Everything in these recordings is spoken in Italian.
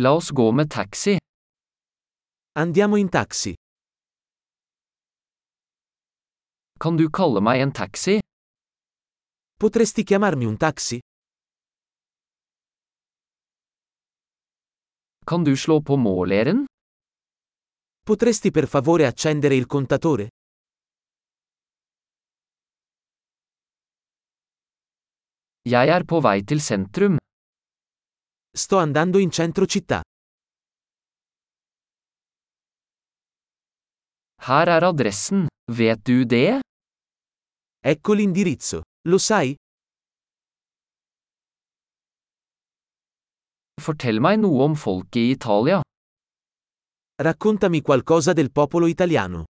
La oss gå med taxi. Andiamo in taxi. Kan du kalle meg en taxi? Potresti chiamarmi un taxi? Kan du slå på måleren? Potresti per favore accendere il contatore? Jeg er på vei til sentrum. Sto andando in centro città. Her er adressen. Vet du det? Ecco l'indirizzo. Lo sai? Fortell meg noe om folket i Italia. Raccontami qualcosa del popolo italiano.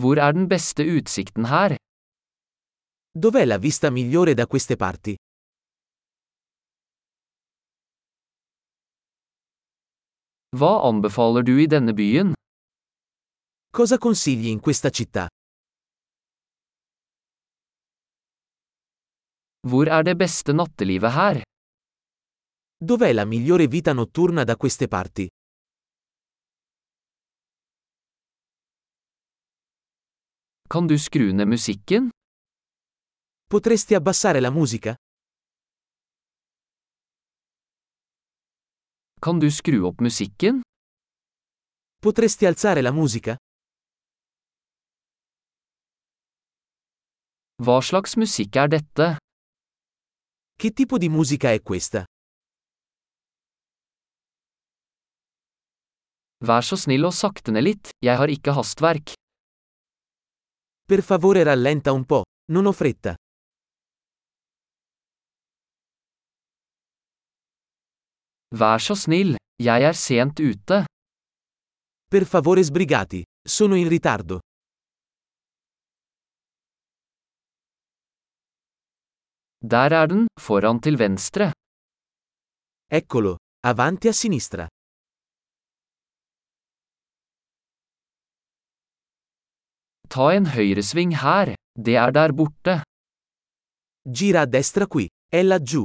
Hvor er den beste utsikten her? Dov'è la vista migliore da queste parti? Hva anbefaler du i denne byen? Cosa consigli in questa città? Hvor er det beste nattelivet her? Dov'è la migliore vita notturna da queste parti? Kan du skru ned musikken? Potresti abbassare la musica? Kan du skru opp musikken? Potresti alzare la musica? Hva slags musikk er dette? Che tipo di musica è questa? Vær så snill og sakte ned litt, jeg har ikke hastverk. Per favore rallenta un po', non ho fretta. Vær så snill, jeg er sent ute. Per favore sbrigati, sono in ritardo. Der er den, foran til venstre. Eccolo, avanti a sinistra. Ta en høyresving her, det er der borte. Gira a destra qui, è laggiù.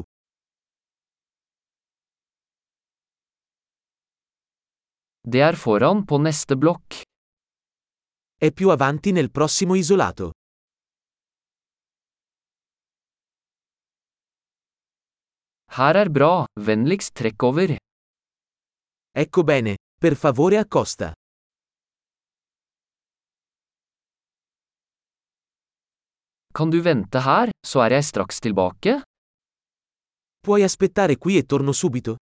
Det er foran på neste blokk. È più avanti nel prossimo isolato. Her er bra, vennligst trekk over. Ecco bene, per favore accosta. Kan du vente her, så er jeg straks tilbake? Puoi aspettare qui e torno subito?